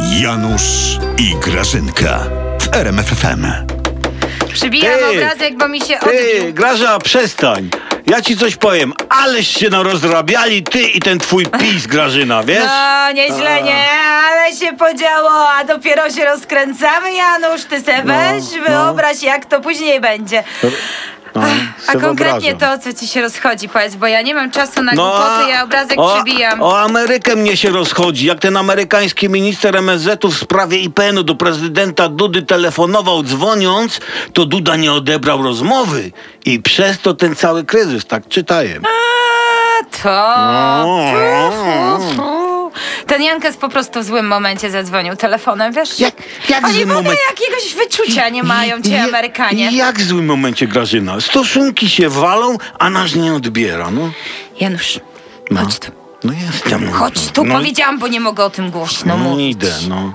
Janusz i Grażynka w RMFFM. Przybijam Ty! obrazek, bo mi się Ty, odbił. Graża, przestań. Ja ci coś powiem. Aleś się no rozrabiali ty i ten twój pis, Grażyna, wiesz? No, nieźle, nie, ale się podziało, a dopiero się rozkręcamy, Janusz, ty se No, weź, wyobraź, jak to później będzie. se A konkretnie wyobrażam. to, co ci się rozchodzi, powiedz, bo ja nie mam czasu na No, głupoty, ja obrazek o, przybijam. O Amerykę mnie się rozchodzi. Jak ten amerykański minister MSZ-u w sprawie IPN-u do prezydenta Dudy telefonował dzwoniąc, to Duda nie odebrał rozmowy. I przez to ten cały kryzys, tak czytałem. No, A, to... No. Fu, fu, fu. Ten Janka jest po prostu w złym momencie zadzwonił telefonem, wiesz? Jak- jak w Oni złym w ogóle momencie? jakiegoś wyczucia nie mają, ci Ja- Amerykanie. Jak w złym momencie, Grażyna? Stosunki się walą, a nasz nie odbiera, no. Janusz, No. chodź tu. No jestem. Chodź tu, no, powiedziałam, bo nie mogę o tym głośno No, mówić. idę, no.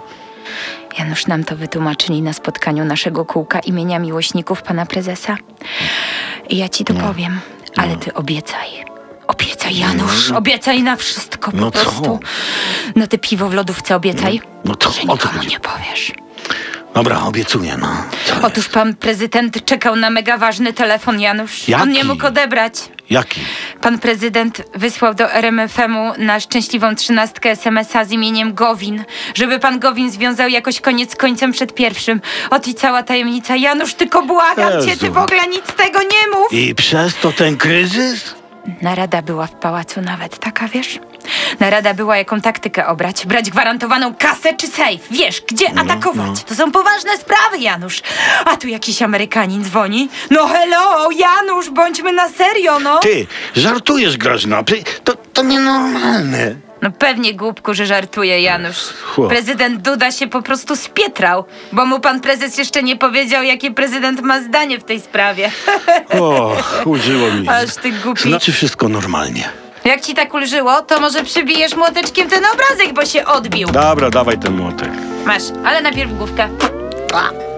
Janusz nam to wytłumaczyli na spotkaniu naszego kółka imienia miłośników pana prezesa. I ja ci to No. powiem, ale ty obiecaj. Obiecaj, Janusz, obiecaj na wszystko po No co? prostu. No ty piwo w lodówce obiecaj, No to że o co nikomu chodzi? nie powiesz. Dobra, obiecuję, no. Co Otóż pan prezydent czekał na mega ważny telefon, Janusz. Jaki? On nie mógł odebrać. Jaki? Pan prezydent wysłał do RMFM-u na szczęśliwą trzynastkę SMS-a z imieniem Gowin, żeby pan Gowin związał jakoś koniec z końcem przed pierwszym. Ot i cała tajemnica. Janusz, tylko błagam cię, ty Jezu. w ogóle nic z tego nie mów. I przez to ten kryzys? Narada była w pałacu nawet, taka wiesz? Narada była, jaką taktykę obrać. Brać gwarantowaną kasę czy sejf. Wiesz, gdzie atakować. To są poważne sprawy, Janusz. A tu jakiś Amerykanin dzwoni. No hello, Janusz, bądźmy na serio, no. Ty, żartujesz, Grażyna. Ty, to, to nienormalne. No pewnie głupku, że żartuje Janusz. Chłop. Prezydent Duda się po prostu spietrał, bo mu pan prezes jeszcze nie powiedział, jakie prezydent ma zdanie w tej sprawie. O, użyło mi. Aż ty głupi. Znaczy wszystko normalnie. Jak ci tak ulżyło, to może przybijesz młoteczkiem ten obrazek, bo się odbił. Dobra, dawaj ten młotek. Masz, ale najpierw główkę.